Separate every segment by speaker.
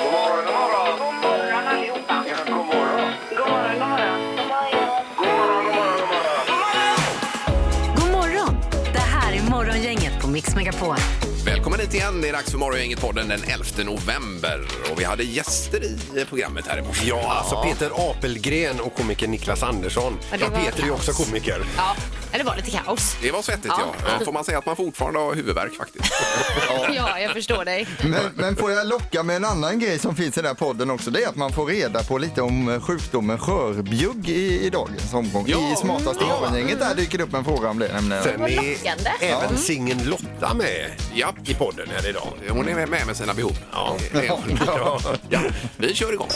Speaker 1: God morgon, god morgon. God morgon allihopa. Ja, god morgon. God morgon, god morgon.
Speaker 2: God
Speaker 1: God morgon, god morgon, god morgon.
Speaker 2: morgon! Det här är Morgongänget på Mix Megapol.
Speaker 3: Välkommen hit igen. Det är dags för Morgongänget-podden den 11 november. Och vi hade gäster i programmet här i morse.
Speaker 4: Ja, alltså Peter Apelgren och komiker Niklas Andersson.
Speaker 5: Ja, det
Speaker 4: Ja,
Speaker 5: var
Speaker 4: Peter är ju också
Speaker 5: kaos.
Speaker 4: komiker.
Speaker 5: Ja, det var lite kaos.
Speaker 3: Det var svettigt, ja.
Speaker 5: Ja.
Speaker 3: Får man säga att man fortfarande har huvudvärk faktiskt?
Speaker 5: Ja, jag förstår dig.
Speaker 6: Men, men får jag locka med en annan grej som finns i den här podden också. Det är att man får reda på lite om eh, sjukdomen skörbjugg i, i dagens omgång.
Speaker 3: Ja.
Speaker 6: I smartaste morgongänget där dyker det upp en fråga om det nämligen.
Speaker 4: Sen
Speaker 5: lockande.
Speaker 4: är även singeln Lotta med
Speaker 3: Ja,
Speaker 4: i podden här idag.
Speaker 3: hon är med med sina behov. Ja. det är hon. Ja. Vi kör igång.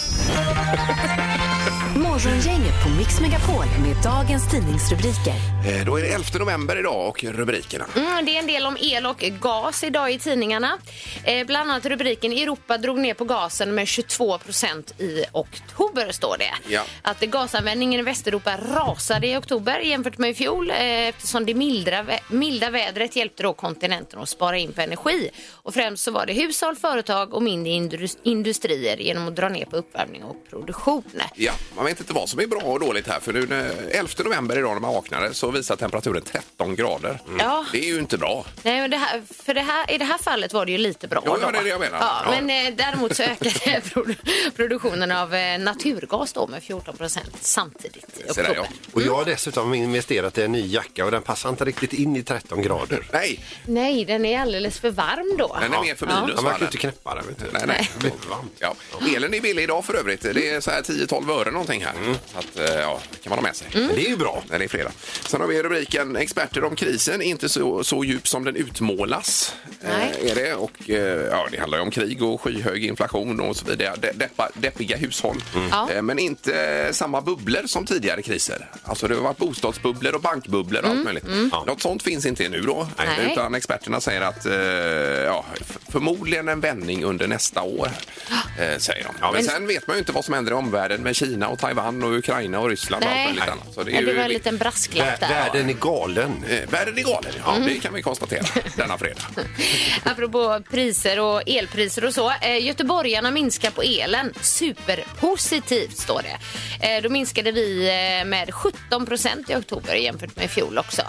Speaker 2: Morgongänget på Mix Megapol med dagens tidningsrubriker.
Speaker 3: Eh, Då är det 11 november idag och rubrikerna.
Speaker 5: Mm, det är en del om el och gas idag i tidningarna. Eh, bland annat rubriken Europa drog ner på gasen med 22 procent i oktober står det.
Speaker 3: Ja.
Speaker 5: Att gasanvändningen i Västeuropa rasade i oktober jämfört med i fjol eh, eftersom det milda, vä- milda vädret hjälpte då kontinenten att spara in på energi. Och främst så var det hushåll, företag och mindre indus- industrier genom att dra ner på uppvärmning och produktion.
Speaker 3: Ja, man vet inte vad som är bra och dåligt här. För nu när- 11 november idag när man vaknade så visar temperaturen 13 grader.
Speaker 5: Ja.
Speaker 3: Det är ju inte bra.
Speaker 5: Nej, men det här, för det här, i det här fallet var det ju lite bra.
Speaker 3: Jo, ja,
Speaker 5: då.
Speaker 3: det är det jag menar.
Speaker 5: Ja,
Speaker 3: Ja.
Speaker 5: Men eh, däremot så ökade produ- produktionen av eh, naturgas då med 14 procent samtidigt i
Speaker 3: Så där,
Speaker 5: oktober.
Speaker 3: ja.
Speaker 4: Och jag har dessutom investerat i en ny jacka och den passar inte riktigt in i 13 grader.
Speaker 3: Nej,
Speaker 5: Nej, den är alldeles för varm då.
Speaker 3: den är mer för minus.
Speaker 4: Ja, man
Speaker 3: va,
Speaker 4: kan ju
Speaker 3: den?
Speaker 4: inte knäppa den. Vet du.
Speaker 3: Nej, nej.
Speaker 4: Det blir varmt.
Speaker 3: Ja. Elen är billig idag för övrigt. Det är så här 10-12 öre någonting här. Så att, eh, ja, det kan man ha med sig.
Speaker 4: Men Mm. Det är ju bra.
Speaker 3: När det är fredag. Sen har vi rubriken Experter om krisen, inte så, så djup som den utmålas.
Speaker 5: Nej.
Speaker 3: Eh, är det. Och, eh, ja, det handlar ju om krig och skyhög inflation och så vidare. De, deppa, deppiga hushåll.
Speaker 4: Mm.
Speaker 5: Ja.
Speaker 3: Eh, men inte samma bubblor som tidigare kriser. Alltså det har varit bostadsbubblor och bankbubblor och allt
Speaker 5: Mm.
Speaker 3: möjligt. Ja. Något sånt finns inte nu då.
Speaker 5: Nej.
Speaker 3: Utan experterna säger att eh, ja, f- förmodligen en vändning under nästa år. Eh, säger de. men sen vet man ju inte vad som händer i omvärlden med Kina och Taiwan och Ukraina och Ryssland och allt
Speaker 5: Nej,
Speaker 3: möjligt annat. Så
Speaker 5: det, det
Speaker 3: ju-
Speaker 5: var en liten brasklapp
Speaker 4: Vär-
Speaker 5: där.
Speaker 4: Världen är galen.
Speaker 3: Eh, Världen är galen, ja,
Speaker 5: Mm.
Speaker 3: det kan vi konstatera denna fredag.
Speaker 5: Apropå priser och elpriser och så. Eh, göteborgarna minskar på elen. Superpositivt står det. Eh, då minskade vi eh, med 17 procent i oktober jämfört med i fjol också.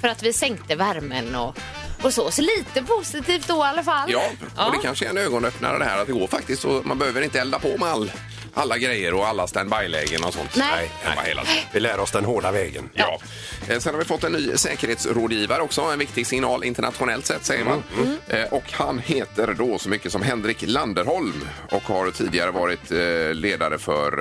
Speaker 5: För att vi sänkte värmen och, och så. Så lite positivt då i alla fall.
Speaker 3: Ja, och det kanske är en ögonöppnare det här att det går faktiskt och man behöver inte elda på med all, alla grejer och alla standby-lägen och sånt.
Speaker 5: Nej.
Speaker 3: hemma hela tiden.
Speaker 4: Vi lär oss den hårda vägen.
Speaker 3: Ja. Eh, Sen har vi fått en ny säkerhetsrådgivare också, en viktig signal internationellt sett säger man. Eh, Och han heter då så mycket som Henrik Landerholm och har tidigare varit eh, ledare för,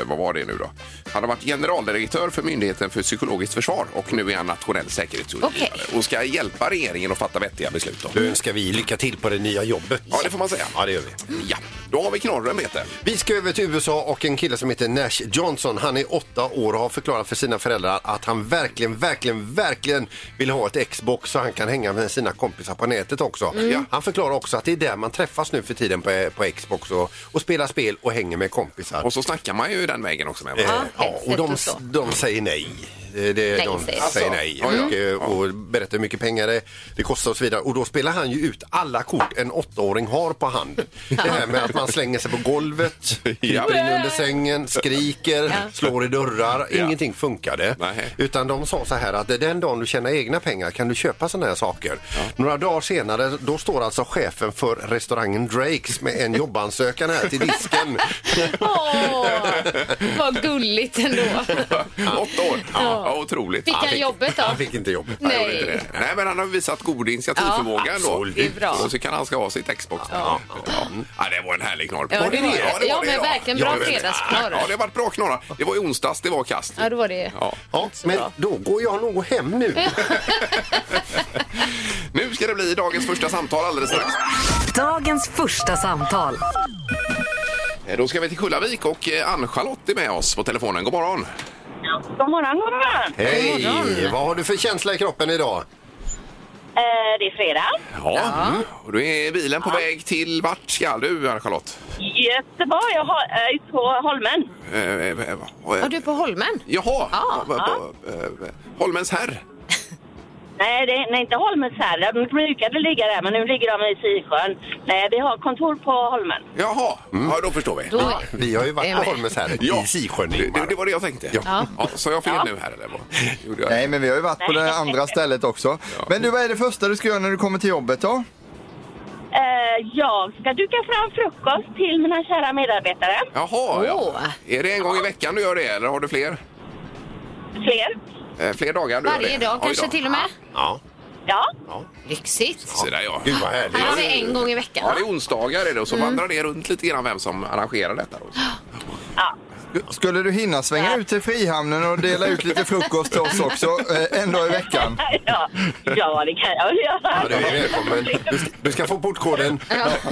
Speaker 3: eh, vad var det nu då? Han har varit generaldirektör för Myndigheten för psykologiskt försvar och nu är han nationell säkerhetsrådgivare
Speaker 5: Okej.
Speaker 3: och ska hjälpa regeringen att fatta vettiga beslut. Då.
Speaker 4: Då önskar vi lycka till på det nya jobbet.
Speaker 3: Ja, det får man säga.
Speaker 4: Ja, det gör vi.
Speaker 3: Ja, då har vi knorren Peter.
Speaker 4: Vi ska över till USA och en kille som heter Nash Johnson. Han är åtta år och har förklarat för sina föräldrar att han verkligen, verkligen, verkligen vill ha ett Xbox så han kan hänga med sina kompisar på nätet också. Ja, han förklarar också att det är där man träffas nu för tiden på, på Xbox och, och spelar spel och hänger med kompisar.
Speaker 3: Och så snackar man ju den vägen också med
Speaker 4: Eh,
Speaker 3: varandra.
Speaker 4: ja, och de,
Speaker 5: headset och så.
Speaker 4: de säger nej. Det, det,
Speaker 5: Nej,
Speaker 4: de
Speaker 5: säger
Speaker 4: säger,
Speaker 5: de.
Speaker 4: nej
Speaker 3: Alltså,
Speaker 4: och, eh, och berättar hur mycket pengar det, det kostar och så vidare. Och då spelar han ju ut alla kort en åttaåring har på hand. Det här med att man slänger sig på golvet, kryper in under sängen, skriker, slår i dörrar. Ingenting funkade.
Speaker 3: Nej.
Speaker 4: Utan de sa så här att den dagen du tjänar egna pengar kan du köpa sådana här saker. Några dagar senare då står alltså chefen för restaurangen Drakes med en jobbansökan här till disken.
Speaker 5: Åh, vad gulligt ändå.
Speaker 3: Åtta år. Ja. otroligt.
Speaker 5: Fick han
Speaker 3: fick-
Speaker 5: jobbet då?
Speaker 4: Han fick inte jobbet.
Speaker 3: han gjorde inte
Speaker 5: Nej.
Speaker 3: det. Nej, men han har visat god initiativförmåga
Speaker 5: Ja,
Speaker 3: ändå.
Speaker 5: absolut. Det är bra.
Speaker 3: Och så kan han ska ha sitt Xbox. Ja. Ja. det var en härlig knorr.
Speaker 5: Ja, det var det.
Speaker 3: Ja, det
Speaker 5: Ja,
Speaker 3: var det
Speaker 5: men
Speaker 3: idag.
Speaker 5: verkligen bra
Speaker 3: det var det.
Speaker 5: fredagsknorr.
Speaker 3: Ja, det har varit bra knorrar. Det var i onsdags det var kast.
Speaker 5: Ja, det var det.
Speaker 3: Ja.
Speaker 4: Ja, men då går jag nog hem nu.
Speaker 3: Nu ska det bli dagens första samtal alldeles strax.
Speaker 2: Dagens första samtal.
Speaker 3: Eh, Då ska vi till Kullavik och eh, Ann-Charlotte är med oss på telefonen. God morgon!
Speaker 1: God morgon, god morgon.
Speaker 4: Hej! Vad har du för känsla i kroppen idag?
Speaker 7: Eh, det är fredag.
Speaker 3: Ja. Mm. Och då är bilen på väg till vart ska du, Ann-Charlotte?
Speaker 7: Göteborg, jag har, eh, på Holmen.
Speaker 3: Eh, eh, eh,
Speaker 5: Och du är på Holmen?
Speaker 3: Jaha!
Speaker 5: Ja.
Speaker 3: Ja. eh, Holmens herr.
Speaker 7: Nej, det, nej, inte Holmens här. De brukade ligga där, men nu ligger de i Sisjön. Nej, vi har kontor på Holmen.
Speaker 3: Jaha, ja, då förstår vi.
Speaker 5: Mm. Då,
Speaker 4: Vi har ju
Speaker 5: Det
Speaker 4: varit
Speaker 5: är
Speaker 4: på
Speaker 5: med.
Speaker 4: Holmens här
Speaker 3: Ja.
Speaker 4: i Sisjön.
Speaker 3: Det, det,
Speaker 4: Ingmar.
Speaker 3: det var det jag tänkte.
Speaker 4: Ja.
Speaker 3: Ja, så jag fel nu här eller? Vad? Gjorde jag?
Speaker 6: Nej, men vi har ju varit på det andra stället också. Men du, vad är det första du ska göra när du kommer till jobbet då?
Speaker 7: Eh, jag ska duka fram frukost till mina kära medarbetare.
Speaker 3: Jaha, ja.
Speaker 5: Åh.
Speaker 3: Är det en gång i veckan du gör det eller har du fler?
Speaker 7: Fler?
Speaker 3: Eh, fler dagar du
Speaker 5: varje
Speaker 3: gör det?
Speaker 5: dag
Speaker 3: Oj
Speaker 5: kanske
Speaker 3: då.
Speaker 5: till och med.
Speaker 4: Ja.
Speaker 7: Ja.
Speaker 5: Lyxigt.
Speaker 3: Så där, ja.
Speaker 4: Gud vad härligt.
Speaker 5: Här har vi en gång i veckan.
Speaker 3: Ja, det är onsdagar är det och så vandrar det runt lite grann vem som arrangerar detta. Då.
Speaker 6: Skulle du hinna svänga ut till Frihamnen och dela ut lite frukost till oss också eh, en dag i veckan?
Speaker 7: ja. Ja, det kan jag väl
Speaker 4: Ja, du
Speaker 7: göra.
Speaker 4: är välkommen. Du, du ska få portkoden.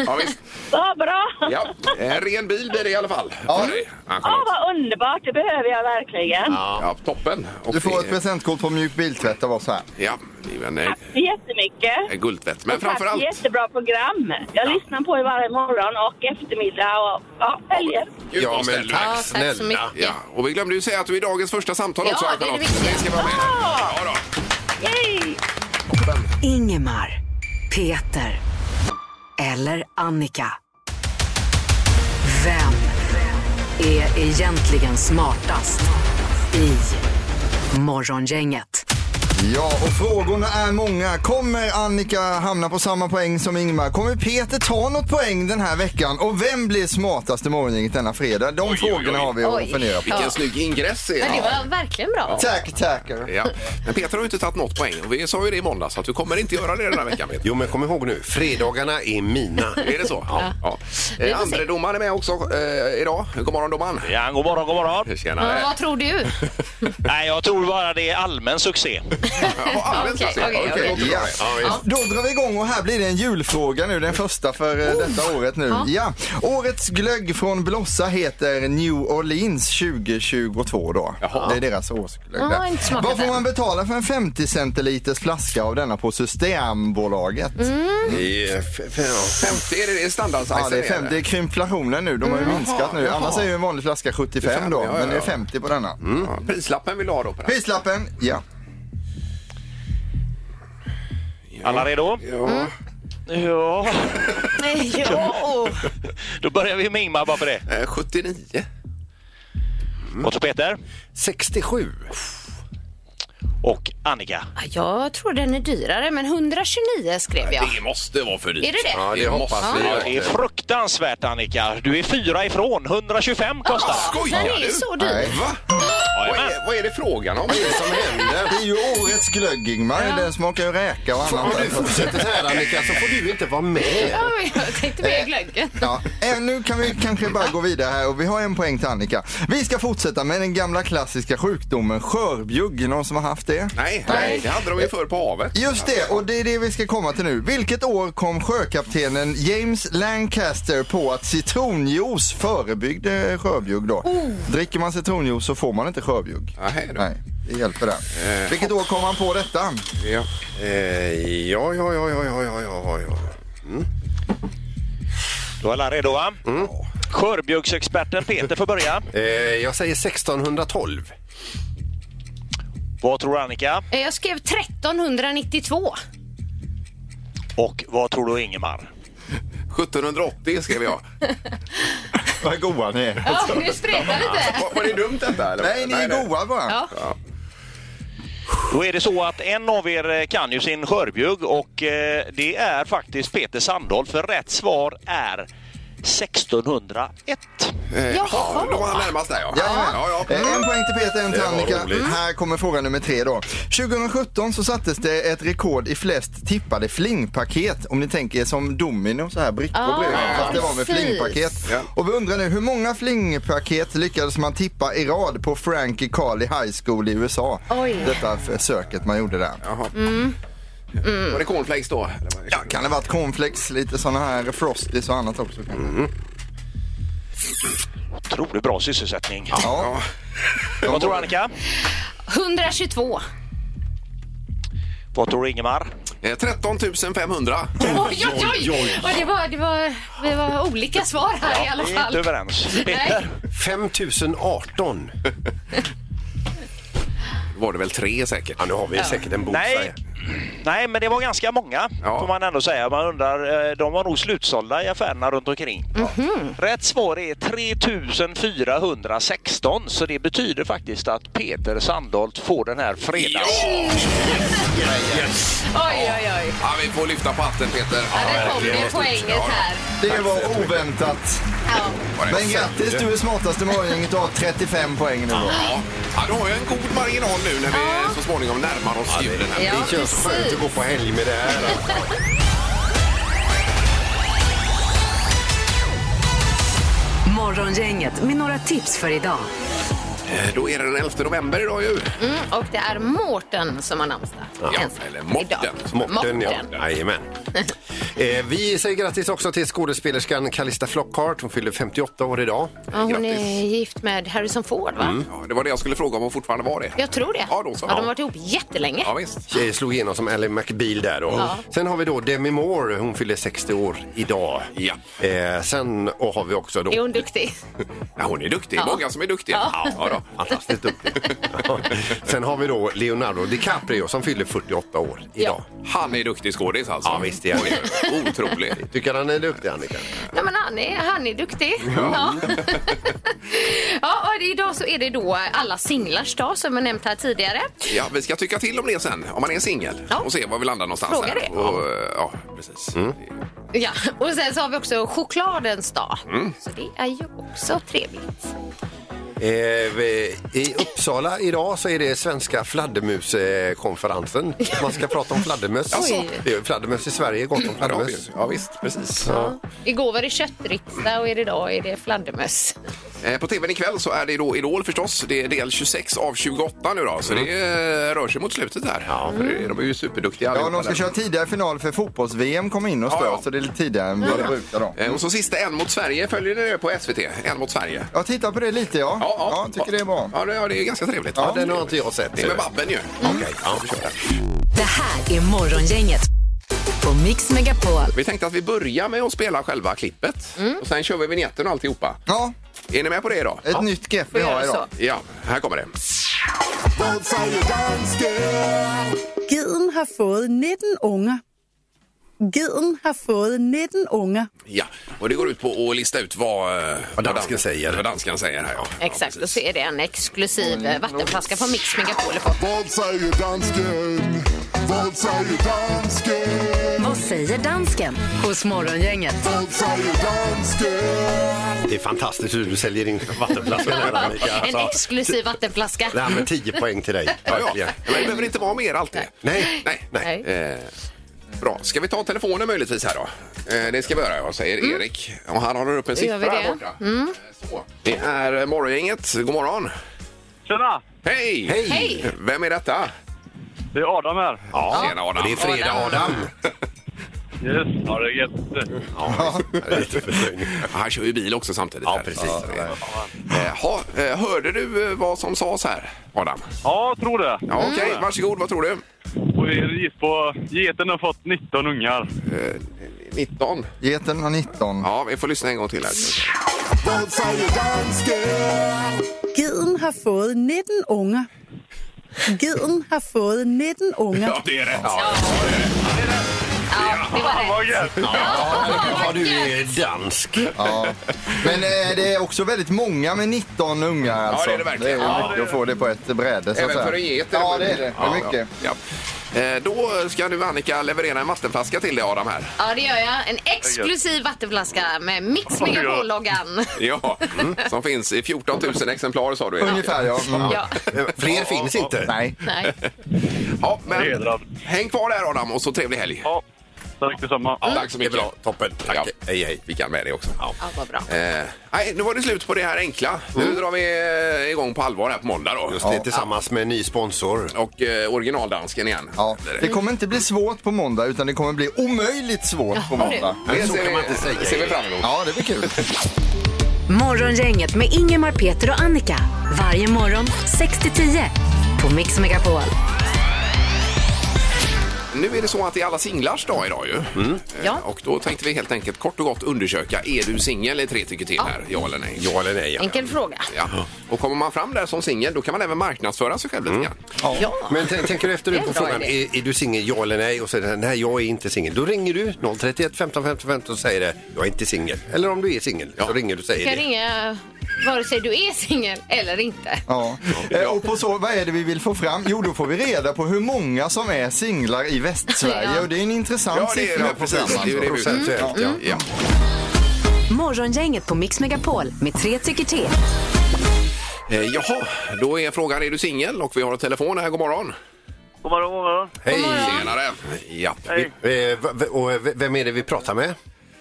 Speaker 3: Ja, visst.
Speaker 7: Ja, bra.
Speaker 3: Ja, en ren bil blir det i alla fall. Ja.
Speaker 7: Åh, vad underbart. Det behöver jag verkligen.
Speaker 3: Ja, toppen. Och
Speaker 6: Du får ett
Speaker 3: det-
Speaker 6: presentkort på mjuk biltvätt av oss här.
Speaker 3: Ja, det är ju en, eh,
Speaker 7: Tack så jättemycket.
Speaker 3: en guldtvätt. Men
Speaker 7: Och tack
Speaker 3: framför
Speaker 7: för
Speaker 3: allt...
Speaker 7: jättebra program. Jag lyssnar på er varje morgon och eftermiddag och ja, helger.
Speaker 3: Gud,
Speaker 4: Ja,
Speaker 3: vad snäll
Speaker 4: men
Speaker 3: du är.
Speaker 4: tack
Speaker 5: tack så
Speaker 4: snälla.
Speaker 5: mycket.
Speaker 3: Ja, och vi glömde ju säga att du är dagens första samtal
Speaker 5: Ja,
Speaker 3: också,
Speaker 5: det är
Speaker 3: Ann-Charlotte.
Speaker 5: det
Speaker 3: ska
Speaker 5: viktiga.
Speaker 3: vara med.
Speaker 7: Ja.
Speaker 3: Ja, då.
Speaker 7: Yay!
Speaker 2: Ingemar, Peter eller Annika. Vem är egentligen smartast i Morgongänget?
Speaker 6: Ja, och frågorna är många. Kommer Annika hamna på samma poäng som Ingmar? Kommer Peter ta något poäng den här veckan? Och vem blir smartast i morgongänget denna fredag? De
Speaker 3: Oj,
Speaker 6: frågorna
Speaker 3: oj, oj.
Speaker 6: har vi att
Speaker 5: Oj.
Speaker 6: fundera på.
Speaker 3: Vilken snygg ingress det
Speaker 5: Men det
Speaker 3: är.
Speaker 5: var verkligen bra.
Speaker 6: Tack, tackar.
Speaker 3: Ja. Men Peter har ju inte tagit något poäng och vi sa ju det i måndags att du kommer inte göra det den här veckan Peter.
Speaker 4: Jo, men kom ihåg nu. Fredagarna är mina.
Speaker 3: Är det så? Ja. ja.
Speaker 5: Vi
Speaker 3: Eh,
Speaker 5: får se.
Speaker 3: Andre domaren är med också eh, idag. God morgon domaren.
Speaker 8: Ja, god morgon, god morgon.
Speaker 5: Ja,
Speaker 3: Tjenare.
Speaker 5: vad tror du?
Speaker 8: Nej, jag tror bara det är allmän succé.
Speaker 3: Jaha, allmänt
Speaker 5: Okej,
Speaker 3: alltså.
Speaker 5: okej,
Speaker 3: Okej,
Speaker 5: okej.
Speaker 3: låter bra.
Speaker 6: Ja. Då drar vi igång och här blir det en julfråga nu, den första för eh,
Speaker 5: Oh.
Speaker 6: detta året nu. Ja. Årets glögg från Blossa heter New Orleans 2022 då. Det är deras årsglögg.
Speaker 5: Ja,
Speaker 6: där.
Speaker 5: jag har inte smakat
Speaker 6: Vad får
Speaker 5: den.
Speaker 6: man betala för en 50 centiliters flaska av denna på Systembolaget?
Speaker 5: Mm.
Speaker 3: Det är f- f- ja, 50, är det det standardsajsen?
Speaker 6: Ja, Alltså, det är 50. Det är krympflationen nu. De har ju minskat nu. Annars är ju en vanlig flaska 75 då,
Speaker 3: Ja, ja,
Speaker 6: men det är
Speaker 3: ja.
Speaker 6: 50 på denna.
Speaker 3: Ja, prislappen vill du ha då på den?
Speaker 6: Prislappen, ja.
Speaker 8: Alla redo?
Speaker 3: Ja.
Speaker 8: Ja.
Speaker 5: Nej, ja.
Speaker 8: Då börjar vi med Ingmar bara för det.
Speaker 3: Eh, 79.
Speaker 8: Och så Peter.
Speaker 4: 67.
Speaker 8: Och Annika.
Speaker 5: Jag tror den är dyrare, men 129 skrev jag.
Speaker 3: Det måste vara för dyrt.
Speaker 5: Är det det?
Speaker 4: Ja, det
Speaker 3: det
Speaker 4: hoppas
Speaker 3: måste
Speaker 4: vi.
Speaker 3: det
Speaker 8: Ja,
Speaker 3: vara.
Speaker 8: det är fruktansvärt Annika. Du är fyra ifrån. 125 kostar den.
Speaker 3: Skojar
Speaker 5: Den är
Speaker 3: du?
Speaker 5: så dyr.
Speaker 6: Nej.
Speaker 3: Va? Vad
Speaker 8: Jajamän.
Speaker 3: är, vad är det frågan om?
Speaker 4: Som händer.
Speaker 6: Det är ju årets glögg, Ingmar. Den smakar ju räka och annat.
Speaker 4: Om du fortsätter så här Annika så får du inte vara med.
Speaker 5: Ja, men Jag tänkte mer glöggen.
Speaker 6: Ja, eh, nu kan vi kanske bara gå vidare här och vi har en poäng till Annika. Vi ska fortsätta med den gamla klassiska sjukdomen skörbjugg. Någon som har haft det?
Speaker 3: Nej, nej, det hade de ju förr på havet.
Speaker 6: Just det, och det är det vi ska komma till nu. Vilket år kom sjökaptenen James Lancaster på att citronjuice förebyggde skörbjugg då?
Speaker 5: Oh.
Speaker 6: Dricker man citronjuice så får man inte skörbjugg.
Speaker 3: Nej, då.
Speaker 6: Nej, det hjälper där. Vilket år kom han på detta?
Speaker 3: Ja.
Speaker 4: Eh, ja, ja, ja, ja, ja, ja, ja, ja.
Speaker 8: Då är alla redo va? Skörbjuggsexperten Peter får börja.
Speaker 4: Eh, jag säger 1612.
Speaker 8: Vad tror Annika?
Speaker 5: Jag skrev 1392.
Speaker 8: Och vad tror du Ingemar?
Speaker 3: 1780 skrev jag.
Speaker 6: Vad goa ni är.
Speaker 5: Ja, nu spretar lite.
Speaker 3: Var, var det dumt detta? Eller?
Speaker 6: Nej, ni är goa bara.
Speaker 5: Ja.
Speaker 8: Då är det så att en av er eh, kan ju sin skörbjugg och eh, det är faktiskt Peter Sandholt för rätt svar är 1601.
Speaker 3: Eh, Ja, då var han närmast där ja.
Speaker 6: Jajamän.
Speaker 3: ja, ja.
Speaker 6: Eh, En poäng till Peter, en till
Speaker 3: Det var
Speaker 6: Annika. Mm.
Speaker 3: roligt.
Speaker 6: Här kommer fråga nummer tre då. 2017 så sattes det ett rekord i flest tippade flingpaket. Om ni tänker som domino, så här brickor
Speaker 5: Ah,
Speaker 6: blev det. Fast det var med
Speaker 5: precis.
Speaker 6: flingpaket.
Speaker 3: Ja.
Speaker 6: Och vi undrar nu, hur många flingpaket lyckades man tippa i rad på Frankie Carly High School i USA?
Speaker 5: Oj.
Speaker 6: Detta försöket man gjorde där.
Speaker 3: Jaha. Var det cornflakes då? Eller vad-
Speaker 6: Ja, kan det varit cornflakes, lite sådana här frosties och annat också? kanske?
Speaker 3: Mm.
Speaker 8: Otroligt bra sysselsättning.
Speaker 6: Ja.
Speaker 8: Vad tror Annika?
Speaker 5: 122.
Speaker 8: Vad tror Ingemar?
Speaker 3: Eh, Eh, 13 500.
Speaker 5: Oj, oj, oj! Och det, var, det, var, det var olika svar här i alla
Speaker 8: Vi är
Speaker 5: fall.
Speaker 8: inte överens.
Speaker 5: Nej.
Speaker 4: 5018.
Speaker 3: var det väl tre säkert?
Speaker 4: Ja, nu har vi säkert en bok.
Speaker 8: Nej. Nej, men det var ganska många får man ändå säga. Man undrar, eh, de var nog slutsålda i affärerna runt omkring. Rätt svar är 3416 så det betyder faktiskt att Peter Sandholt får den här fredags...
Speaker 5: Oj, oj, oj.
Speaker 3: Ja, vi får lyfta på hatten Peter.
Speaker 5: Ja, där kom det poänget här.
Speaker 6: Det var oväntat. Men grattis, du är smartaste morgongänget och har 35 poäng nu. Då.
Speaker 3: Ja. Ja, du har ju en god marginal nu när vi så småningom närmar oss julen. Här.
Speaker 5: Ja, Det känns precis. skönt att
Speaker 3: gå på helg med det här.
Speaker 2: Morgongänget med några tips för idag.
Speaker 3: Eh, Då är det den 11 november idag ju.
Speaker 5: Mm, och det är Mårten som har namnsdag.
Speaker 3: Ja,
Speaker 5: Ens-
Speaker 3: eller Morten.
Speaker 4: Mårten, ja.
Speaker 5: Mårten.
Speaker 4: Jajamän. Eh, vi säger grattis också till skådespelerskan Calista Flockhart. Hon fyller 58 år idag.
Speaker 5: Ja, hon är gift med Harrison Ford, va?
Speaker 3: Ja, det var det jag skulle fråga om hon fortfarande var det.
Speaker 5: Mm. Jag tror det.
Speaker 3: Mm. Ja, då så.
Speaker 5: de har varit ihop jättelänge.
Speaker 3: Ja, visst.
Speaker 4: Tjej slog igenom som Ally McBeal där då.
Speaker 5: Ja.
Speaker 4: Sen har vi då Demi Moore, hon fyller 60 år idag.
Speaker 3: Ja.
Speaker 4: Eh, sen och har vi också då...
Speaker 5: Är hon duktig?
Speaker 3: Ja, hon är duktig.
Speaker 5: Ja.
Speaker 3: Många som är duktiga.
Speaker 5: Ja.
Speaker 3: Ja, då.
Speaker 4: Fantastiskt duktig. Ja. Sen har vi då Leonardo DiCaprio som fyller 48 år idag.
Speaker 3: Han är duktig skådis alltså.
Speaker 4: Ja, visst är han
Speaker 3: det. Otrolig.
Speaker 4: Tycker han är duktig Annika?
Speaker 5: Nej, men han är, han är duktig. Ja. ja, och idag så är det då alla singlars dag som jag nämnt här tidigare.
Speaker 3: Ja, vi ska tycka till om det sen, om man är singel.
Speaker 5: Ja.
Speaker 3: Och se var vi landar någonstans.
Speaker 5: Fråga
Speaker 3: här.
Speaker 5: det.
Speaker 3: Och, eh, ja, precis.
Speaker 5: Ja, och sen så har vi också chokladens dag. Så det är ju också trevligt.
Speaker 4: Eh, vi- I Uppsala idag så är det svenska fladdermuskonferensen. Man ska prata om fladdermöss.
Speaker 5: Oj.
Speaker 4: Det är ju fladdermöss i Sverige, gott om
Speaker 3: Ja, det har vi ju.
Speaker 4: fladdermöss.
Speaker 3: ja, visst. Precis.
Speaker 5: Igår var det köttriksdag och idag är det fladdermöss.
Speaker 3: Eh, På tvn ikväll så är det då Idol förstås. Det är del 26 av 28 nu då, så det eh, rör sig mot slutet här. Mm. Ja. De är ju superduktiga
Speaker 6: Ja,
Speaker 3: allihopa
Speaker 6: de ska
Speaker 3: där.
Speaker 6: köra tidigare final för fotbolls-VM kom in och
Speaker 3: Ja,
Speaker 6: stör,
Speaker 3: ja.
Speaker 6: så det är lite tidigare än vad det brukar. Då.
Speaker 3: Eh, Och så sista En mot Sverige följer ni det på SVT. En mot Sverige.
Speaker 6: Jag tittar på det lite, ja. ja tycker det är bra.
Speaker 3: Ja, det, ja, det är ganska trevligt.
Speaker 4: Ja, den har inte jag sett.
Speaker 3: Det är med Babben ju.
Speaker 6: Mm.
Speaker 3: Okej, ja, vi kör den.
Speaker 2: Det här är Morgongänget på Mix Megapol.
Speaker 3: Vi tänkte att vi börjar med att spela själva klippet och sen kör vi vignetten och alltihopa.
Speaker 6: Ja,
Speaker 3: Är ni med på det idag?
Speaker 6: Mm. ett nytt grepp vi
Speaker 5: Får
Speaker 6: har
Speaker 5: göra
Speaker 6: idag.
Speaker 3: Ja, här kommer det.
Speaker 9: Geden har fået 19 unger. Geden har fået 19 unger.
Speaker 3: Ja, och det går ut på att lista ut vad, eh, vad
Speaker 4: dansken
Speaker 3: dan-
Speaker 4: säger.
Speaker 3: Vad danskan säger här, ja.
Speaker 5: Exakt,
Speaker 3: Ja,
Speaker 5: och
Speaker 3: precis.
Speaker 5: så är det en exklusiv eh, vattenflaska från Mix Megapol.
Speaker 10: Vad säger dansken? Vad säger dansken?
Speaker 2: Vad säger dansken hos Morgongänget?
Speaker 10: Vad säger dansken?
Speaker 4: Det är fantastiskt hur du säljer in vattenflaskan här Annika.
Speaker 5: En
Speaker 4: Alltså,
Speaker 5: exklusiv vattenflaska.
Speaker 4: det här med 10 poäng till dig.
Speaker 3: Ja, ja.
Speaker 4: Verkligen.
Speaker 3: Men det behöver inte vara mer alltid.
Speaker 4: Nej.
Speaker 3: Nej.
Speaker 5: Nej.
Speaker 3: Eh, bra. Ska vi ta telefonen möjligtvis här då? Eh, det ska vi göra, jag säger Erik. Och han håller upp en siffra
Speaker 5: Mm. gör vi
Speaker 3: här
Speaker 5: det. Mm.
Speaker 3: borta. Eh, Så. Det är eh, Morgongänget. God morgon.
Speaker 1: Tjena!
Speaker 3: Hej!
Speaker 4: Hej!
Speaker 5: Hej!
Speaker 3: Vem är detta?
Speaker 1: Det är Adam här.
Speaker 3: Ja, Tjena, Adam.
Speaker 4: Det är fredag Adam.
Speaker 1: Yes. Ja, det är gött.
Speaker 4: Ja, det är lite fördröjning.
Speaker 3: Han kör ju bil också samtidigt.
Speaker 4: Ja,
Speaker 3: här.
Speaker 4: precis.
Speaker 3: Så det- Eh, ha, eh, hörde du eh, vad som sades här, Adam?
Speaker 1: Ja, jag tror det. Mm.
Speaker 3: Ja, Okej, varsågod. Vad tror du?
Speaker 1: Och vi gick på... Geten har fått 19 ungar.
Speaker 3: 19.
Speaker 6: Geten har 19.
Speaker 3: Eh, Ja, vi får lyssna en gång till här.
Speaker 10: Vad säger dansken?
Speaker 9: Geden har fået 19 unger. Geden har fået 19 unger.
Speaker 3: det är rätt. Ja.
Speaker 5: Ja, det var
Speaker 1: Vad
Speaker 5: det.
Speaker 1: gött!
Speaker 4: Ja, du är dansk.
Speaker 6: Ja. Men eh, det är också väldigt många med 19 ungar. Alltså.
Speaker 3: det är det verkligen.
Speaker 6: Det är
Speaker 3: Ja,
Speaker 6: mycket att få det på ett bräde. Så att
Speaker 3: Även
Speaker 6: säga.
Speaker 3: för en get är
Speaker 6: Ja, det
Speaker 3: möjligt.
Speaker 6: är det. Det är mycket.
Speaker 3: Ja, ja. Eh, Då ska du, Annika, leverera en vattenflaska till dig, Adam. här.
Speaker 5: Ja, det gör jag. En exklusiv vattenflaska med Mix Megapol-loggan.
Speaker 3: Ja, Mm, som finns i 14 000 exemplar, sa du. Erik.
Speaker 6: Ungefär ja. Mm.
Speaker 5: Ja,
Speaker 4: Eh, Fler finns inte.
Speaker 6: Nej.
Speaker 5: nej.
Speaker 3: Ja, men
Speaker 1: Hedrad.
Speaker 3: häng kvar där, Adam, och så trevlig helg. Mm.
Speaker 1: Ja, tack detsamma.
Speaker 3: Tack så mycket.
Speaker 4: Det är bra. Toppen. Tack.
Speaker 3: Ja.
Speaker 4: Hej, hej.
Speaker 3: Vi kan med det också.
Speaker 5: Ja, vad bra.
Speaker 3: Eh, nej, nu var det slut på det här enkla.
Speaker 6: Mm.
Speaker 3: Nu drar vi eh, igång på allvar här på måndag. Då.
Speaker 4: Just det, tillsammans med en ny sponsor.
Speaker 3: Och eh, originaldansken igen.
Speaker 6: Ja.
Speaker 3: Eller-
Speaker 6: Det kommer inte bli svårt på måndag utan det kommer bli omöjligt svårt på måndag.
Speaker 3: Det
Speaker 4: så
Speaker 3: ser
Speaker 4: kan man
Speaker 3: vi,
Speaker 4: inte säga.
Speaker 3: ser vi fram emot.
Speaker 6: Ja, det blir kul.
Speaker 2: Morgongänget med Ingemar, Peter och Annika. Varje morgon 6 till 10 på Mix Megapol.
Speaker 3: Nu är det så att det är alla singlars dag idag ju.
Speaker 2: Mm.
Speaker 3: Eh,
Speaker 5: Ja.
Speaker 3: Och då tänkte vi helt enkelt kort och gott undersöka, är du singel i tre tycker till här? Ja eller nej? Ja eller nej,
Speaker 5: Enkel fråga.
Speaker 3: Ja. Och kommer man fram där som singel, då kan man även marknadsföra sig själv
Speaker 2: Mm.
Speaker 3: lite grann.
Speaker 4: Men t- tänker du efter
Speaker 3: Det
Speaker 4: nu
Speaker 3: är en
Speaker 4: på
Speaker 3: bra
Speaker 4: frågan,
Speaker 3: idé.
Speaker 4: är, är du singel ja eller nej? Och så är det, nej jag är inte singel. Då ringer du 031 15 15 15 och säger det, jag är inte singel. Eller om du är singel, så ringer du och
Speaker 5: Du
Speaker 4: säger
Speaker 5: kan
Speaker 4: det.
Speaker 5: ringa vare sig du är singel eller inte.
Speaker 6: Ja. Eh, Och på så, vad är det vi vill få fram? Jo, då får vi reda på hur många som är singlar i Västsverige.
Speaker 2: Ja.
Speaker 6: Och det är en intressant
Speaker 2: Ja, det är det.
Speaker 6: siffra på
Speaker 2: Precis. Det är ju det vi- Procentuellt, ja.
Speaker 3: Ja.
Speaker 2: Morgongänget på Mix Megapol med tre tycker till.
Speaker 3: Eh, jaha, då är frågan, är du singel? Och vi har en telefon här, god morgon.
Speaker 11: God morgon, god morgon.
Speaker 4: Hej!
Speaker 3: Tjenare! Ja.
Speaker 4: Vi, eh, v- v- och eh, v- vem är det vi pratar med?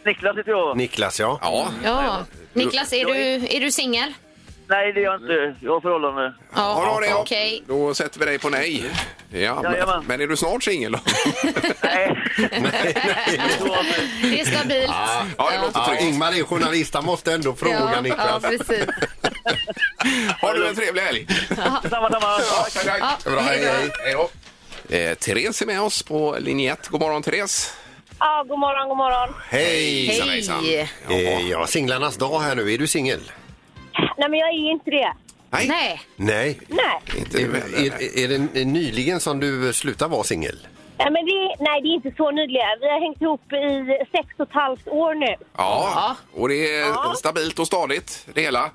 Speaker 11: Niklas heter jag.
Speaker 4: Niklas, ja.
Speaker 3: Ja.
Speaker 5: Ja. Niklas, är du, är du singel?
Speaker 11: Nej, det är jag inte. Jag har förhållande.
Speaker 3: Ja, då, är det, ja.
Speaker 5: Okej.
Speaker 3: då sätter vi dig på nej. Ja,
Speaker 11: Jajamän.
Speaker 3: men, men är du snart singel? då?
Speaker 5: Det är stabilt.
Speaker 4: Ah,
Speaker 3: ja, det låter tryggt.
Speaker 4: Ingmar är journalist, han måste ändå fråga
Speaker 5: ja, ja,
Speaker 4: Niklas.
Speaker 5: precis.
Speaker 3: Har du en trevlig helg!
Speaker 11: Samma, samma.
Speaker 5: Ja,
Speaker 3: Bra, Eh, Therese är med oss på linje 1. God morgon Therese!
Speaker 12: Ja, god morgon, god morgon.
Speaker 4: Hej!
Speaker 12: Hejsan, hejsan. Hej.
Speaker 4: Eh, ja, singlarnas dag här nu. Är du singel?
Speaker 12: Nej, men jag är inte det.
Speaker 3: Nej.
Speaker 5: Nej.
Speaker 4: Nej.
Speaker 12: Nej.
Speaker 4: är, är, är det nyligen som du slutar vara singel?
Speaker 12: Nej, men vi, nej, det är inte så nyligen. Vi har hängt ihop i sex och ett halvt år nu.
Speaker 3: Ja, och det är stabilt och stadigt det hela.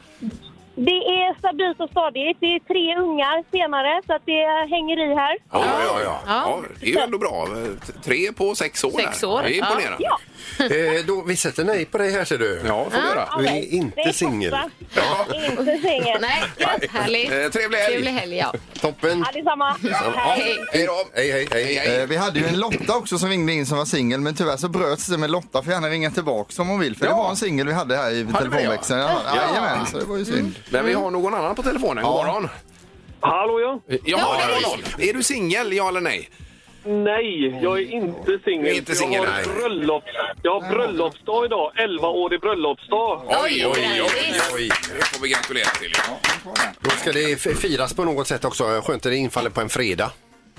Speaker 12: Det är stabilt och stadigt. Det är tre ungar senare, så att det hänger i här.
Speaker 3: Ja, ja, ja. ja. Det är ju ändå bra. T- Tre på sex år.
Speaker 12: Sex
Speaker 3: där.
Speaker 12: år,
Speaker 3: Det är imponerande.
Speaker 12: ja.
Speaker 4: Eh, då, vi sätter nej på dig här ser du.
Speaker 3: Ja, får vi Ja, göra.
Speaker 4: Du är
Speaker 3: okej.
Speaker 12: Det är
Speaker 4: inte singel.
Speaker 12: toppen. Inte singel.
Speaker 5: Nej, härligt.
Speaker 3: Eh, trevlig helg.
Speaker 5: Trevlig helg, ja.
Speaker 4: Toppen.
Speaker 12: Ja, detsamma. Hej.
Speaker 4: Hej då! Hej, hej, hej.
Speaker 6: Eh, Vi hade ju en Lotta också som ringde in som var singel men tyvärr så bröts det med Lotta får gärna ringa tillbaka om hon vill för det var en singel vi hade här i telefonväxeln. Ja,
Speaker 3: Ja.
Speaker 6: jajamän, så det var ju synd.
Speaker 3: Men vi har någon annan på telefonen. God
Speaker 6: Ja.
Speaker 3: morgon! Eh,
Speaker 11: Hallå ja!
Speaker 3: Ja, det var någon. Är du singel, ja eller nej?
Speaker 11: Nej, jag är inte
Speaker 3: Du
Speaker 11: singel.
Speaker 4: Eh,
Speaker 3: är inte singel,
Speaker 11: jag har
Speaker 3: nej.
Speaker 11: bröllops, jag har bröllopsdag idag. 11-årig bröllopsdag.
Speaker 3: Oj, oj, oj, oj. Det får vi gratulera till. Ja.
Speaker 4: Då ska det f- firas på något sätt också. Skönt att det infaller på en fredag.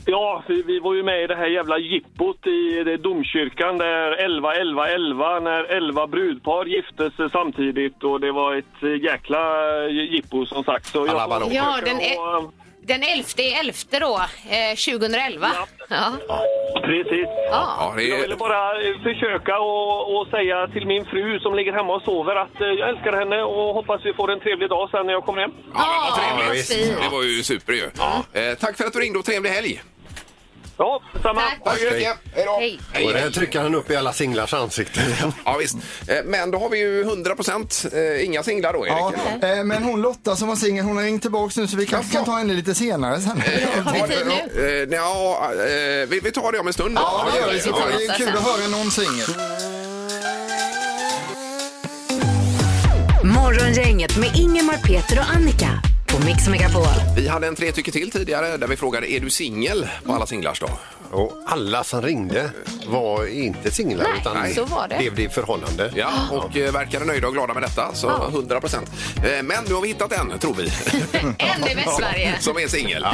Speaker 11: Ja, vi, vi var ju med i det här jävla jippot i det domkyrkan där 11, 11, 11 när 11 brudpar gifte sig samtidigt och det var ett eh, jäkla eh, jippo som sagt. Så jag
Speaker 4: Alla
Speaker 11: får
Speaker 5: Ja,
Speaker 11: försöka
Speaker 5: den,
Speaker 11: och, eh,
Speaker 5: el- den 11 i 11 då, eh, 2011. Ja.
Speaker 11: Precis.
Speaker 3: Ja, det är-
Speaker 11: Jag ville bara eh, försöka och, och säga till min fru som ligger hemma och sover att eh, jag älskar henne och hoppas vi får en trevlig dag sen när jag kommer hem.
Speaker 3: Ja, men vad
Speaker 11: vad
Speaker 3: trevligt.
Speaker 11: fint.
Speaker 3: det var ju super ju. Eh, tack för att du ringde och trevlig helg.
Speaker 11: Ja, samma.
Speaker 3: Tack så mycket. Hej då.
Speaker 5: Hej.
Speaker 4: Och det här trycker han upp i alla singlars ansikten.
Speaker 3: Ja, visst. Eh, Men då har vi ju 100 procent inga singlar då, Erik.
Speaker 6: Ja, eh, men hon Lotta som var singel, hon har ringt tillbaka nu så vi kanske kan ta henne lite senare sen.
Speaker 3: Har vi tid nu? Ja, eh, vi, vi tar det om en stund.
Speaker 6: Ja, det gör vi. Så
Speaker 3: Ja,
Speaker 6: det är kul att höra någon singel.
Speaker 2: Morgongänget med Ingemar, Peter och Annika på Mix Megapol.
Speaker 3: Vi hade en tre tycker till tidigare där vi frågade är du singel på alla singlars dag?
Speaker 4: Och alla som ringde var inte singlar
Speaker 3: Nej,
Speaker 4: utan
Speaker 3: så var det.
Speaker 4: levde i förhållande.
Speaker 3: Ja, och eh, verkade nöjda och glada med detta, så 100 procent. Eh, Men nu har vi hittat en, tror vi.
Speaker 5: En i Västsverige.
Speaker 3: Som är singel. Eh,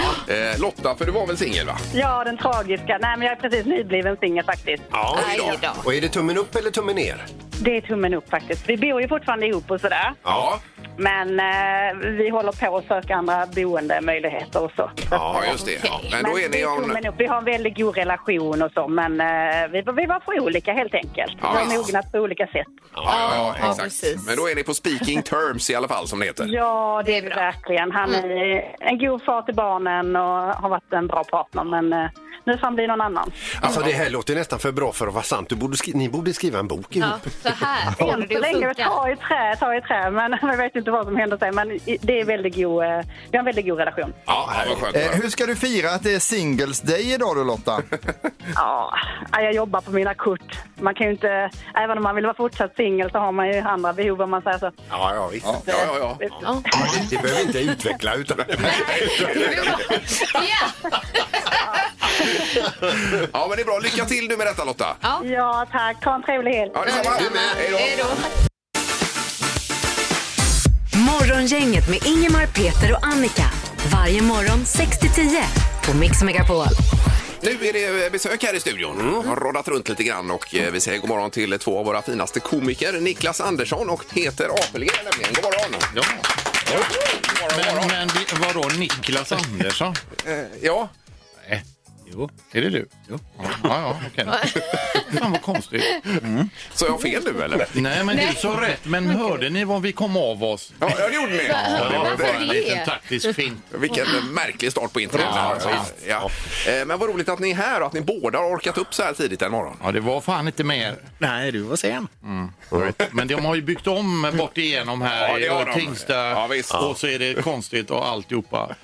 Speaker 3: Lotta, för du var väl singel, va?
Speaker 12: Ja, den tragiska. Nej, men jag är precis nybliven singel faktiskt.
Speaker 4: Ja, Och är det tummen upp eller tummen ner?
Speaker 12: Det är tummen upp faktiskt. Vi bor ju fortfarande ihop och sådär.
Speaker 4: Ja.
Speaker 12: Men eh, vi håller på att söka andra boendemöjligheter och så.
Speaker 3: Ja, just det. Ja. Men då är
Speaker 12: det
Speaker 3: ni
Speaker 12: är
Speaker 3: om...
Speaker 12: tummen upp. Vi har en väldigt god relation och så, men eh, vi, var- vi var för olika helt enkelt.
Speaker 3: Ja,
Speaker 12: vi
Speaker 3: visst.
Speaker 12: har mognat på olika sätt.
Speaker 3: Ja, ja,
Speaker 12: Ja,
Speaker 3: ja, exakt. Men då är ni på speaking terms i alla fall, som det heter.
Speaker 12: Ja, det är Mm. vi verkligen. Han är en god far till barnen och har varit en bra partner, men eh, nu får han bli någon annan.
Speaker 4: Alltså det här låter ju nästan för bra för att vara sant. Du borde skri- ni borde skriva en bok ihop.
Speaker 5: så här
Speaker 12: Än så länge, ta i trä, ta i trä, men jag vet inte vad som händer sen. Men i- det är väldigt god, eh, vi har en väldigt god relation.
Speaker 3: Ja, vad skönt.
Speaker 6: Eh, hur ska du fira att det är singles day idag då Lotta?
Speaker 12: Ja, nej, jag jobbar på mina kort. Man kan ju inte, även om man vill vara fortsatt singel så har man ju andra behov om man säger så.
Speaker 4: Ja, ja, visst.
Speaker 3: Ja, ja, ja.
Speaker 4: Ja. Det behöver vi inte utveckla utan...
Speaker 3: Ja, men det är bra. Lycka till nu med detta, Lotta.
Speaker 12: Ja, tack. Ha en trevlig helg.
Speaker 3: Ja, detsamma. Hej då.
Speaker 2: Morgongänget med Ingemar, Peter och Annika. Varje morgon 6 till 10 på Mix Megapol.
Speaker 3: Nu är det eh, besök här i studion. Jag har rådat runt lite grann och eh, vi säger god morgon till två av våra finaste komiker. Niklas Andersson och Peter Apelgren nämligen. God morgon! Ja.
Speaker 13: Men, men vi- vadå Niklas Andersson?
Speaker 3: ja.
Speaker 13: Nej. Jo, är det du? Jo. Ja, ja, okej. Fan vad konstigt.
Speaker 3: Så jag fel nu eller?
Speaker 13: Nej, men
Speaker 3: Nej.
Speaker 13: du sa rätt. Men hörde ni vad vi kom av oss?
Speaker 3: Ja, jag gjorde ni.
Speaker 13: Ja, det var
Speaker 3: Varför
Speaker 13: bara en
Speaker 3: det?
Speaker 13: liten taktisk fint.
Speaker 3: Vilken märklig start på internet.
Speaker 13: Ja,
Speaker 3: alltså. ja. Eh, Men vad roligt att ni är här och att ni båda har orkat upp så här tidigt en morgon.
Speaker 13: Ja, det var fan inte mer. Nej, du var sen. Mm. Right. Men de har ju byggt om bort igenom
Speaker 3: Ja,
Speaker 13: här
Speaker 3: det har de.
Speaker 13: i Tingsta och så är det konstigt och alltihopa.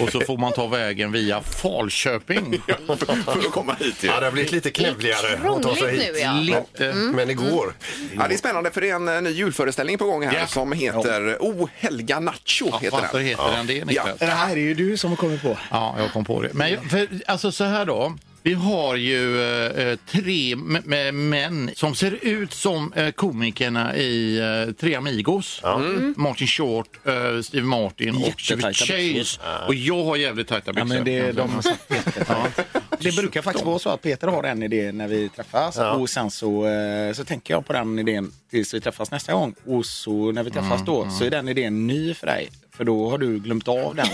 Speaker 13: Och så får man ta vägen via Falköping.
Speaker 3: För att komma hit ju.
Speaker 4: Ja, det har blivit lite knövligare Det är att ta sig krångligt hit. nu, ja.
Speaker 13: Lite.
Speaker 4: Mm. Men igår.
Speaker 3: Ja, det är spännande för det är en eh, ny julföreställning på gång här som heter O helga nacho. heter
Speaker 13: varför
Speaker 3: den.
Speaker 13: heter den det, Niklas?
Speaker 3: Ja.
Speaker 14: Det här är ju du som har kommit på.
Speaker 13: Ja, jag kom på det. Men jag- för, alltså så här då. Vi har ju eh, tre m- m- män som ser ut som eh, komikerna i eh, Tre Amigos.
Speaker 14: Mm.
Speaker 13: Martin Short, eh, Steve Martin och
Speaker 14: Jättetajta
Speaker 13: Chevy Chase.
Speaker 14: byxor.
Speaker 13: Och jag har jävligt tajta
Speaker 14: Ja,
Speaker 13: byxor.
Speaker 14: men det, de,
Speaker 13: Ja.
Speaker 14: det brukar faktiskt vara så att Peter har en idé när vi träffas
Speaker 13: Ja.
Speaker 14: och sen så, eh, så tänker jag på den idén tills vi träffas nästa gång och så när vi träffas
Speaker 13: Mm,
Speaker 14: då
Speaker 13: mm.
Speaker 14: så är den idén ny för dig för då har du glömt av den.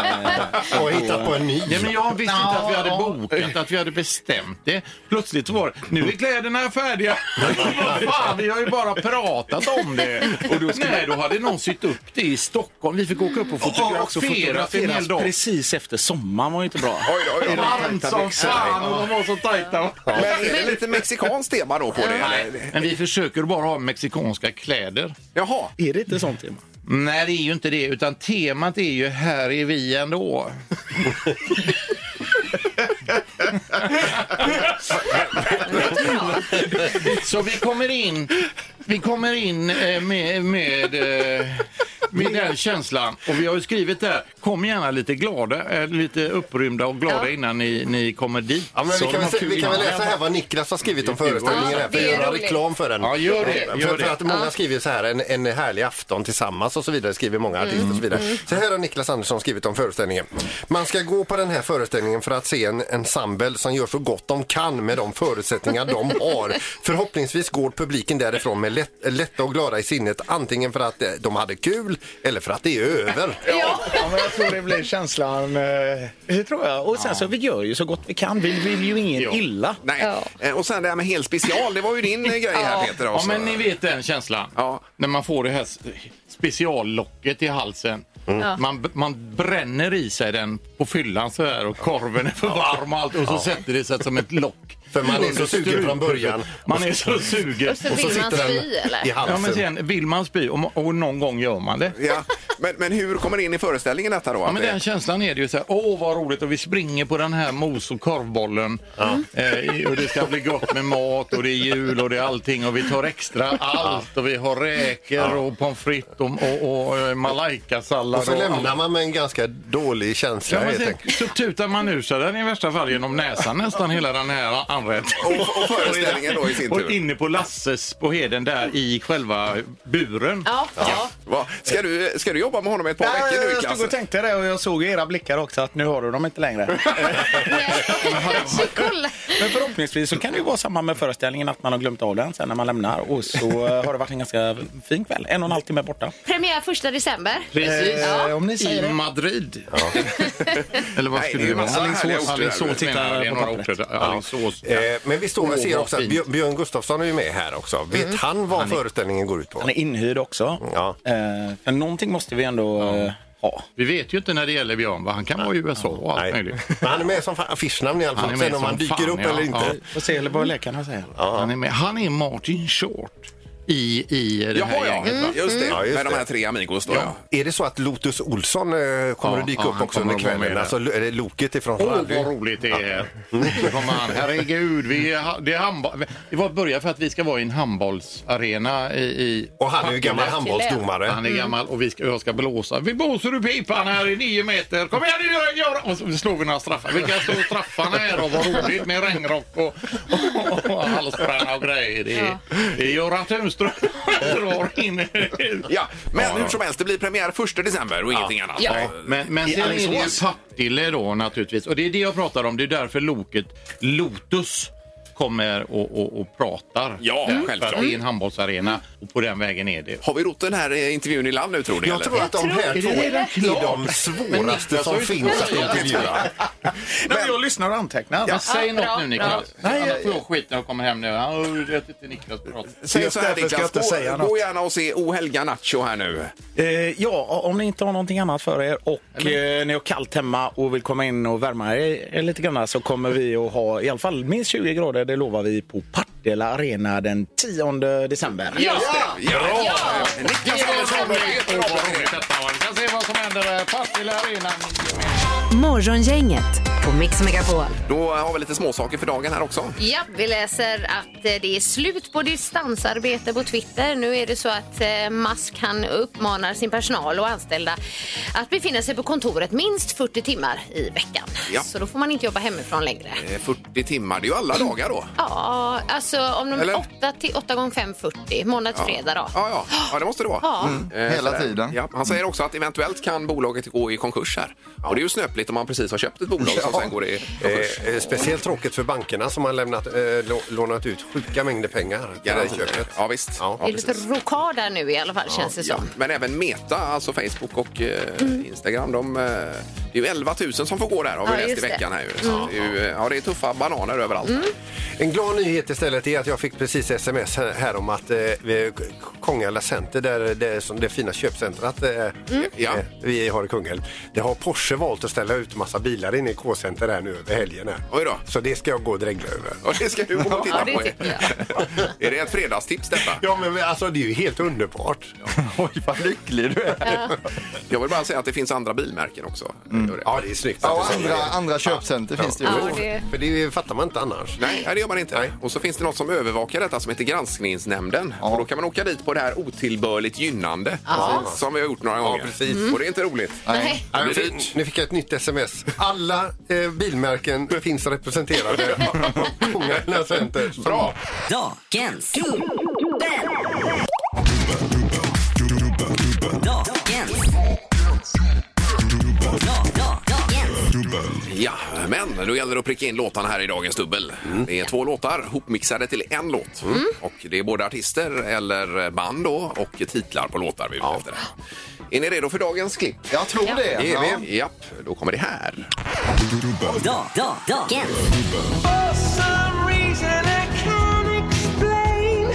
Speaker 14: eh,
Speaker 13: Och hittat på en ny. Nej, men jag visste inte att vi hade
Speaker 14: Ja.
Speaker 13: bokat, att vi hade bestämt det. Plötsligt så var det, nu är kläderna färdiga. Vad fan, vi har ju bara pratat om det. Och då skulle... Nej, då hade någon sytt upp det i Stockholm. Vi fick åka upp och
Speaker 14: Och också
Speaker 13: fotografera en hel
Speaker 14: fotograferas
Speaker 13: dag.
Speaker 14: precis efter sommaren var ju inte bra.
Speaker 13: Oj då, oj då. Varmt som fan och de var så tajta.
Speaker 3: Men är det lite mexikanskt tema då på det? eller?
Speaker 13: Men vi försöker bara ha mexikanska kläder.
Speaker 3: Jaha.
Speaker 14: Är det inte sånt tema?
Speaker 13: Nej, det är ju inte det, utan temat är ju här är vi ändå. Så vi kommer in, vi kommer in eh, med, med, eh, med den känslan. Och vi har ju skrivit där, kom gärna lite glada, eh, lite upprymda och glada innan ni, ni kommer dit.
Speaker 4: Ja, men
Speaker 13: Så
Speaker 4: vi, kan
Speaker 13: de
Speaker 4: väl,
Speaker 13: har
Speaker 4: se-
Speaker 13: kul
Speaker 4: vi kan väl
Speaker 13: innan.
Speaker 4: läsa här vad Niklas har skrivit om föreställningen.
Speaker 13: Ja,
Speaker 4: här, för
Speaker 13: det
Speaker 4: att
Speaker 13: är
Speaker 4: göra
Speaker 13: roligt.
Speaker 4: reklam för den.
Speaker 13: Ja, gör det,
Speaker 4: För-
Speaker 13: gör
Speaker 4: för,
Speaker 13: det.
Speaker 4: att många skriver så här, en, en härlig afton tillsammans och så vidare, skriver många artister och så
Speaker 13: Mm.
Speaker 4: vidare. Så här har Niklas Andersson skrivit om föreställningen. Man ska gå på den här föreställningen för att se en ensemble som gör så gott de kan med de förutsättningar de har. Förhoppningsvis går publiken därifrån med lätt, lätta och glada i sinnet, antingen för att eh, de hade kul eller för att det är över.
Speaker 14: Ja, men jag tror det blir känslan. eh, Det tror jag. Och sen så vi gör ju så gott vi kan. Vi vill ju ingen illa.
Speaker 3: Nej. Eh, Och sen det här med hel special, det var ju din eh, grej här Peter.
Speaker 13: Ja,
Speaker 3: också.
Speaker 4: alltså.
Speaker 13: men ni vet den känslan. När man får det här s- speciallocket i halsen.
Speaker 3: Mm. Ja.
Speaker 13: Man, man bränner i sig den på fyllan så här och korven är för varm och allt och så
Speaker 4: Ja.
Speaker 13: sätter det sig som ett lock.
Speaker 4: För man är så
Speaker 13: under
Speaker 4: sugen
Speaker 13: strupen.
Speaker 4: från början.
Speaker 13: Man är så sugen.
Speaker 4: Och så Och så vill man sitter den spy, eller? i halsen.
Speaker 13: Ja, men sen vill man spy och, ma- och någon gång gör man det.
Speaker 3: Alltså. Ja. Men, men hur kommer det in i föreställningen detta då?
Speaker 13: Ja,
Speaker 3: Att
Speaker 13: men
Speaker 3: det-
Speaker 13: den känslan är det ju så här, åh vad roligt och vi springer på den här mos och korvbollen eh, i- och det ska bli gott med mat och det är jul och det är allting och vi tar extra allt och vi har räkor och pommes frites och, och, och eh, malaikasallad.
Speaker 4: Och så lämnar man med en ganska dålig känsla.
Speaker 13: Ja, men
Speaker 4: helt
Speaker 13: sen
Speaker 4: enkelt.
Speaker 13: så tutar man ur sig den i värsta fall genom näsan nästan hela den här anrättningen.
Speaker 3: Och- och föreställningen då i sin tur.
Speaker 13: Och inne på Lasses på Heden där i själva buren.
Speaker 5: Ja.
Speaker 3: Va? Ska, du, ska du jobba med honom ett par
Speaker 14: Nej,
Speaker 3: veckor nu
Speaker 14: jag stod och
Speaker 3: Niklas?
Speaker 14: tänkte det och jag såg i era blickar också att nu har du dem inte längre. Men förhoppningsvis så kan det ju vara samma med föreställningen att man har glömt av den sen när man lämnar och så eh, har det varit en ganska fin kväll. En och en halv timme borta.
Speaker 5: Premiär första december.
Speaker 14: Eh, om ni säger
Speaker 13: I
Speaker 14: det.
Speaker 13: Madrid. Eller vad skulle det vara? Alingsås menar jag. Det är några orter. där. Alingsås.
Speaker 4: Eh, men vi står och
Speaker 13: Åh,
Speaker 4: ser
Speaker 13: vad
Speaker 4: också att
Speaker 13: fint.
Speaker 4: Björ- Björn Gustafsson är ju med här också. Vet
Speaker 14: Mm.
Speaker 4: han vad
Speaker 14: Han är-
Speaker 4: föreställningen går ut på?
Speaker 14: Han är inhyrd också.
Speaker 4: Ja.
Speaker 14: Eh, För någonting måste vi ändå eh, ha.
Speaker 13: Vi vet ju inte när det gäller Björn, vad han kan vara i USA och allt möjligt.
Speaker 4: Men han är med som fan- affischnamn i alla fall. Sen om han dyker upp eller inte.
Speaker 14: Får se vad läkarna säger.
Speaker 13: Han, är med. han är Martin Short i, i det här
Speaker 4: Jaha, ja.
Speaker 3: Mm,
Speaker 13: gänget. va? Mm.
Speaker 4: Just det. Ja, just Med de det. här
Speaker 3: tre Amigos
Speaker 4: Ja. Är det så att Lotus Olsson eh, kommer
Speaker 13: Ja,
Speaker 4: att dyka
Speaker 13: ja,
Speaker 4: upp
Speaker 13: han
Speaker 4: också
Speaker 13: kommer
Speaker 4: under
Speaker 13: att vara med
Speaker 4: kvällen?
Speaker 13: där.
Speaker 4: Alltså lo- eller loket ifrån
Speaker 13: Åh,
Speaker 4: Rally.
Speaker 13: vad roligt det är. Nu kommer han. Herregud, vi är, det, är handboll. det var början för att vi ska vara i en handbollsarena i, i
Speaker 4: Och han är ju gammal handbollsdomare.
Speaker 13: Han är
Speaker 4: Mm.
Speaker 13: gammal och vi ska, jag ska blåsa. Vi blåser ur pipan här i nio meter. Kom igen nu, gör, gör! Och så slår vi några straffar. Vilka slår straffarna här och vad roligt med regnrock och, och, och halsbränna och grejer. Det, det gör att strö- drar in.
Speaker 3: Ja, men hur som helst, det blir premiär 1 december och ingenting annat.
Speaker 13: Ja. Men, men
Speaker 3: I
Speaker 13: sen är det ju
Speaker 3: Alingsås.
Speaker 13: Partille då naturligtvis. Och det är det jag pratar om. Det är därför loket Lotus kommer och, och, och pratar.
Speaker 3: Ja,
Speaker 13: Därför att
Speaker 3: självklart.
Speaker 13: Det är en handbollsarena och på den vägen är det.
Speaker 3: Har vi rott den här eh, intervjun i land nu tror ni?
Speaker 13: Jag
Speaker 3: eller?
Speaker 13: tror att de Jag här tror- två är det redan är klart? de svåraste Men Niklas som har ju finns inte att börjat. intervjua.
Speaker 14: Nej, men jag lyssnar och antecknar.
Speaker 13: Ja, säg något nu Niklas. Nej,
Speaker 14: Nej,
Speaker 13: jag får jag skit när jag kommer hem nu. Ja, Jag vet inte Niklas pratar.
Speaker 3: Säg så här Niklas, gå, gå gärna och se O helga nacho här nu.
Speaker 14: Eh, ja, om ni inte har någonting annat för er och eh, ni har kallt hemma och vill komma in och värma er eh, lite grann så kommer vi att ha i alla fall minst 20 grader, det lovar vi, på Partille Arena den 10 december.
Speaker 3: Ja!
Speaker 13: Niklas Andersson vet otroligt detta. va. Vi kan se vad som händer. eh, Partille Arena.
Speaker 2: Morgongänget på Mix Megapol.
Speaker 3: Då har vi lite småsaker för dagen här också. Eh,
Speaker 5: Ja, vi läser att eh, det är slut på distansarbete på Twitter. Nu är det så att eh, Musk han uppmanar sin personal och anställda att befinna sig på kontoret minst 40 timmar i veckan.
Speaker 3: Ja.
Speaker 5: Så då får man inte jobba hemifrån längre.
Speaker 3: Eh, 40 timmar, det är ju alla dagar då.
Speaker 5: Ja, alltså om de
Speaker 3: Eller?
Speaker 5: 8 till 8 gånger 5, 40. Måndag till
Speaker 3: Ja.
Speaker 5: fredag då.
Speaker 3: Ja, ja. ja det måste det vara.
Speaker 5: Ja. Mm,
Speaker 6: hela
Speaker 3: sådär.
Speaker 6: tiden.
Speaker 3: Ja. Han säger också att eventuellt kan bolaget gå i konkurs här. Och det är ju snöpligt om man precis har köpt ett bolag som sen går i konkurs.
Speaker 4: Eh, eh, speciellt tråkigt för bankerna som har lämnat, eh, lå- lånat ut sjuka mängder pengar till det här
Speaker 3: Garantier.
Speaker 4: köpet.
Speaker 3: Ja, visst. Ja,
Speaker 5: det är lite
Speaker 3: precis.
Speaker 5: rokad där nu i alla fall känns det
Speaker 3: Ja,
Speaker 5: som.
Speaker 3: Men även Meta, alltså Facebook och eh, Instagram, de, eh, det är ju 11 000 som får gå där har vi
Speaker 5: Mm.
Speaker 3: läst
Speaker 5: Ja,
Speaker 3: i
Speaker 5: just det.
Speaker 3: veckan.
Speaker 5: Mm.
Speaker 3: Här, ju. Så det, är ju, eh, ja, det är tuffa bananer överallt.
Speaker 4: En glad nyhet istället är att jag fick precis sms här, här om att eh, vi- K- Kongälva center, där, där, som det fina köpcentret eh,
Speaker 3: Mm. Ja.
Speaker 4: eh, vi har i Kungälv, det har Porsche valt att ställa ut massa bilar inne i K-center här nu över helgen. Här.
Speaker 3: Oj då.
Speaker 4: Så det ska jag gå och dregla över.
Speaker 3: Och det ska du gå och titta
Speaker 5: Ja, det
Speaker 3: på.
Speaker 5: tycker
Speaker 3: Är det ett fredagstips detta?
Speaker 4: Ja, men alltså det är ju helt underbart.
Speaker 3: Oj, vad lycklig du är. Jag vill bara säga att det finns andra bilmärken också. Gör det.
Speaker 4: Ja, det är snyggt.
Speaker 3: Ja,
Speaker 6: och andra- andra köpcenter finns det ju. Ja, det-
Speaker 4: För det fattar man inte annars.
Speaker 3: Nej, nej, det gör man inte. Och så finns det något som övervakar detta som heter Granskningsnämnden. Och då kan man åka dit på det här otillbörligt gynnande
Speaker 4: Ja.
Speaker 3: som vi har gjort några gånger. Mm.
Speaker 4: precis.
Speaker 3: Och det är inte roligt.
Speaker 4: Nej.
Speaker 3: Det blir
Speaker 4: Nu
Speaker 3: dyrt.
Speaker 4: fick- nu fick jag ett nytt sms. Alla eh, bilmärken finns representerade på Kungälv Center. Bra!
Speaker 1: Dagens
Speaker 3: Ja, men då gäller det att pricka in låtarna här i dagens dubbel. Det är två låtar hopmixade till en låt. Och det är både artister eller band då och titlar på låtar vi är ute efter. Är ni redo för dagens klipp?
Speaker 6: Jag tror Ja. det.
Speaker 3: Är
Speaker 6: Ja.
Speaker 3: vi? Japp, då kommer det här.
Speaker 1: For some reason I can't explain.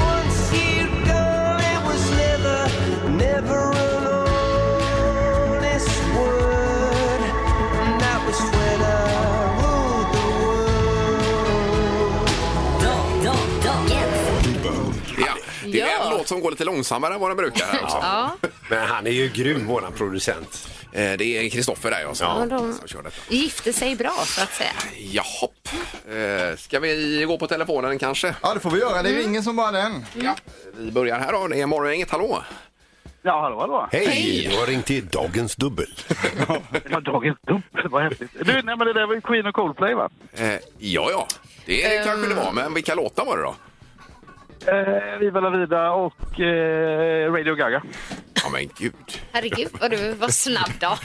Speaker 1: Once you go, it was never, never an honest word. And that was when I ruled the world.
Speaker 3: Ja, det är
Speaker 1: Ja.
Speaker 3: en låt som går lite långsammare än vad den brukar. Här också.
Speaker 5: Ja.
Speaker 4: Men han är ju grym, våran producent.
Speaker 3: eh, Det är Kristoffer där, ja. Som,
Speaker 5: Ja, de-
Speaker 3: som kör detta.
Speaker 5: Gifte sig bra så att säga.
Speaker 3: Jahopp. Eh, Ska vi gå på telefonen kanske?
Speaker 6: Ja, det får vi göra. Det är ingen som bara den.
Speaker 3: Ja. Vi börjar här då. Det är Morgongänget. Hallå!
Speaker 15: Ja, hallå, hallå.
Speaker 4: Hej! Du har ringt till Dagens Dubbel.
Speaker 15: Ja, dagens dubbel, vad häftigt. Du, nej men det där var ju Queen och Coldplay va?
Speaker 3: Eh, Ja, ja. Det
Speaker 5: Eh.
Speaker 3: är det kanske det var, men vilka låtar var det då?
Speaker 15: Eh, Viva La Vida och eh, Radio Gaga.
Speaker 3: Ja, men gud.
Speaker 5: Herregud vad du var snabb då.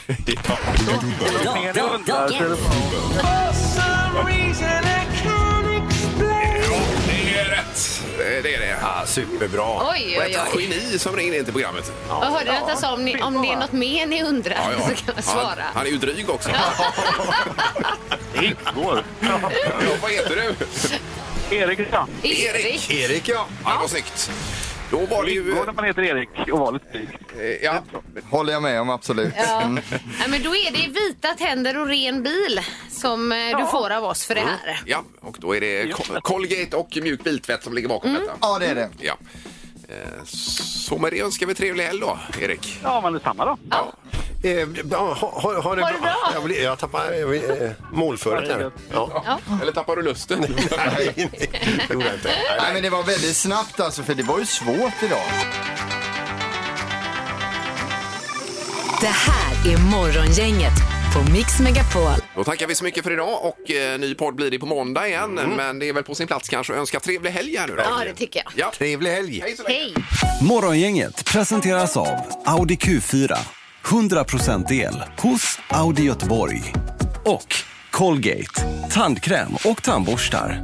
Speaker 1: For some reason I can't explain.
Speaker 3: Det är rätt! Eh, Det är det.
Speaker 4: Ja, superbra.
Speaker 5: Oj,
Speaker 3: Och
Speaker 5: oj,
Speaker 3: ett
Speaker 5: oj.
Speaker 3: geni som ringer in till programmet.
Speaker 5: Jag hörde att jag sa om, ni, om det är något mer ni undrar
Speaker 3: Ja, ja.
Speaker 5: så kan jag
Speaker 3: Han,
Speaker 5: svara.
Speaker 3: han är ju dryg också. Det går. Vad heter du?
Speaker 15: Erik, ja.
Speaker 3: Erik. Erik, ja. ja. Vad snyggt. Då var det ju... Eh,
Speaker 15: Går när man heter Erik och var lite dryg.
Speaker 3: Ja,
Speaker 6: håller jag med om absolut.
Speaker 5: Ja.
Speaker 6: Mm.
Speaker 5: Nej, men då är det vita tänder och ren bil som eh, du får av oss för det här.
Speaker 3: Ja, och då är det Col- Colgate och mjuk biltvätt som ligger bakom
Speaker 15: Mm.
Speaker 3: detta.
Speaker 6: Ja, det är det.
Speaker 3: Ja. Eh, Så med det önskar vi trevlig helg då, Erik.
Speaker 15: Ja, men detsamma då.
Speaker 4: Eh, ha, ha, ha det
Speaker 3: Ha det bra.
Speaker 4: Jag, blir, jag tappar eh, målföret här. Ja.
Speaker 3: Eller tappar du lusten?
Speaker 4: Nej, det gjorde jag inte.
Speaker 6: Nej, men det var väldigt snabbt alltså, för det var ju svårt idag.
Speaker 2: Det här är Morgongänget
Speaker 16: på Mix Megapol.
Speaker 3: Då tackar vi så mycket för idag och eh, ny podd blir det på måndag igen.
Speaker 4: Mm.
Speaker 3: Men det är väl på sin plats kanske att önska trevlig helg här nu då.
Speaker 5: Ja, det tycker jag.
Speaker 3: Ja.
Speaker 9: Trevlig helg!
Speaker 3: Hej så länge.
Speaker 5: Hej!
Speaker 17: Morgongänget presenteras av Audi Q4. 100% el hos Audi Göteborg. Och Colgate. Tandkräm och tandborstar.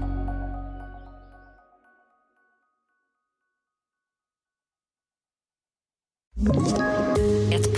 Speaker 2: Ett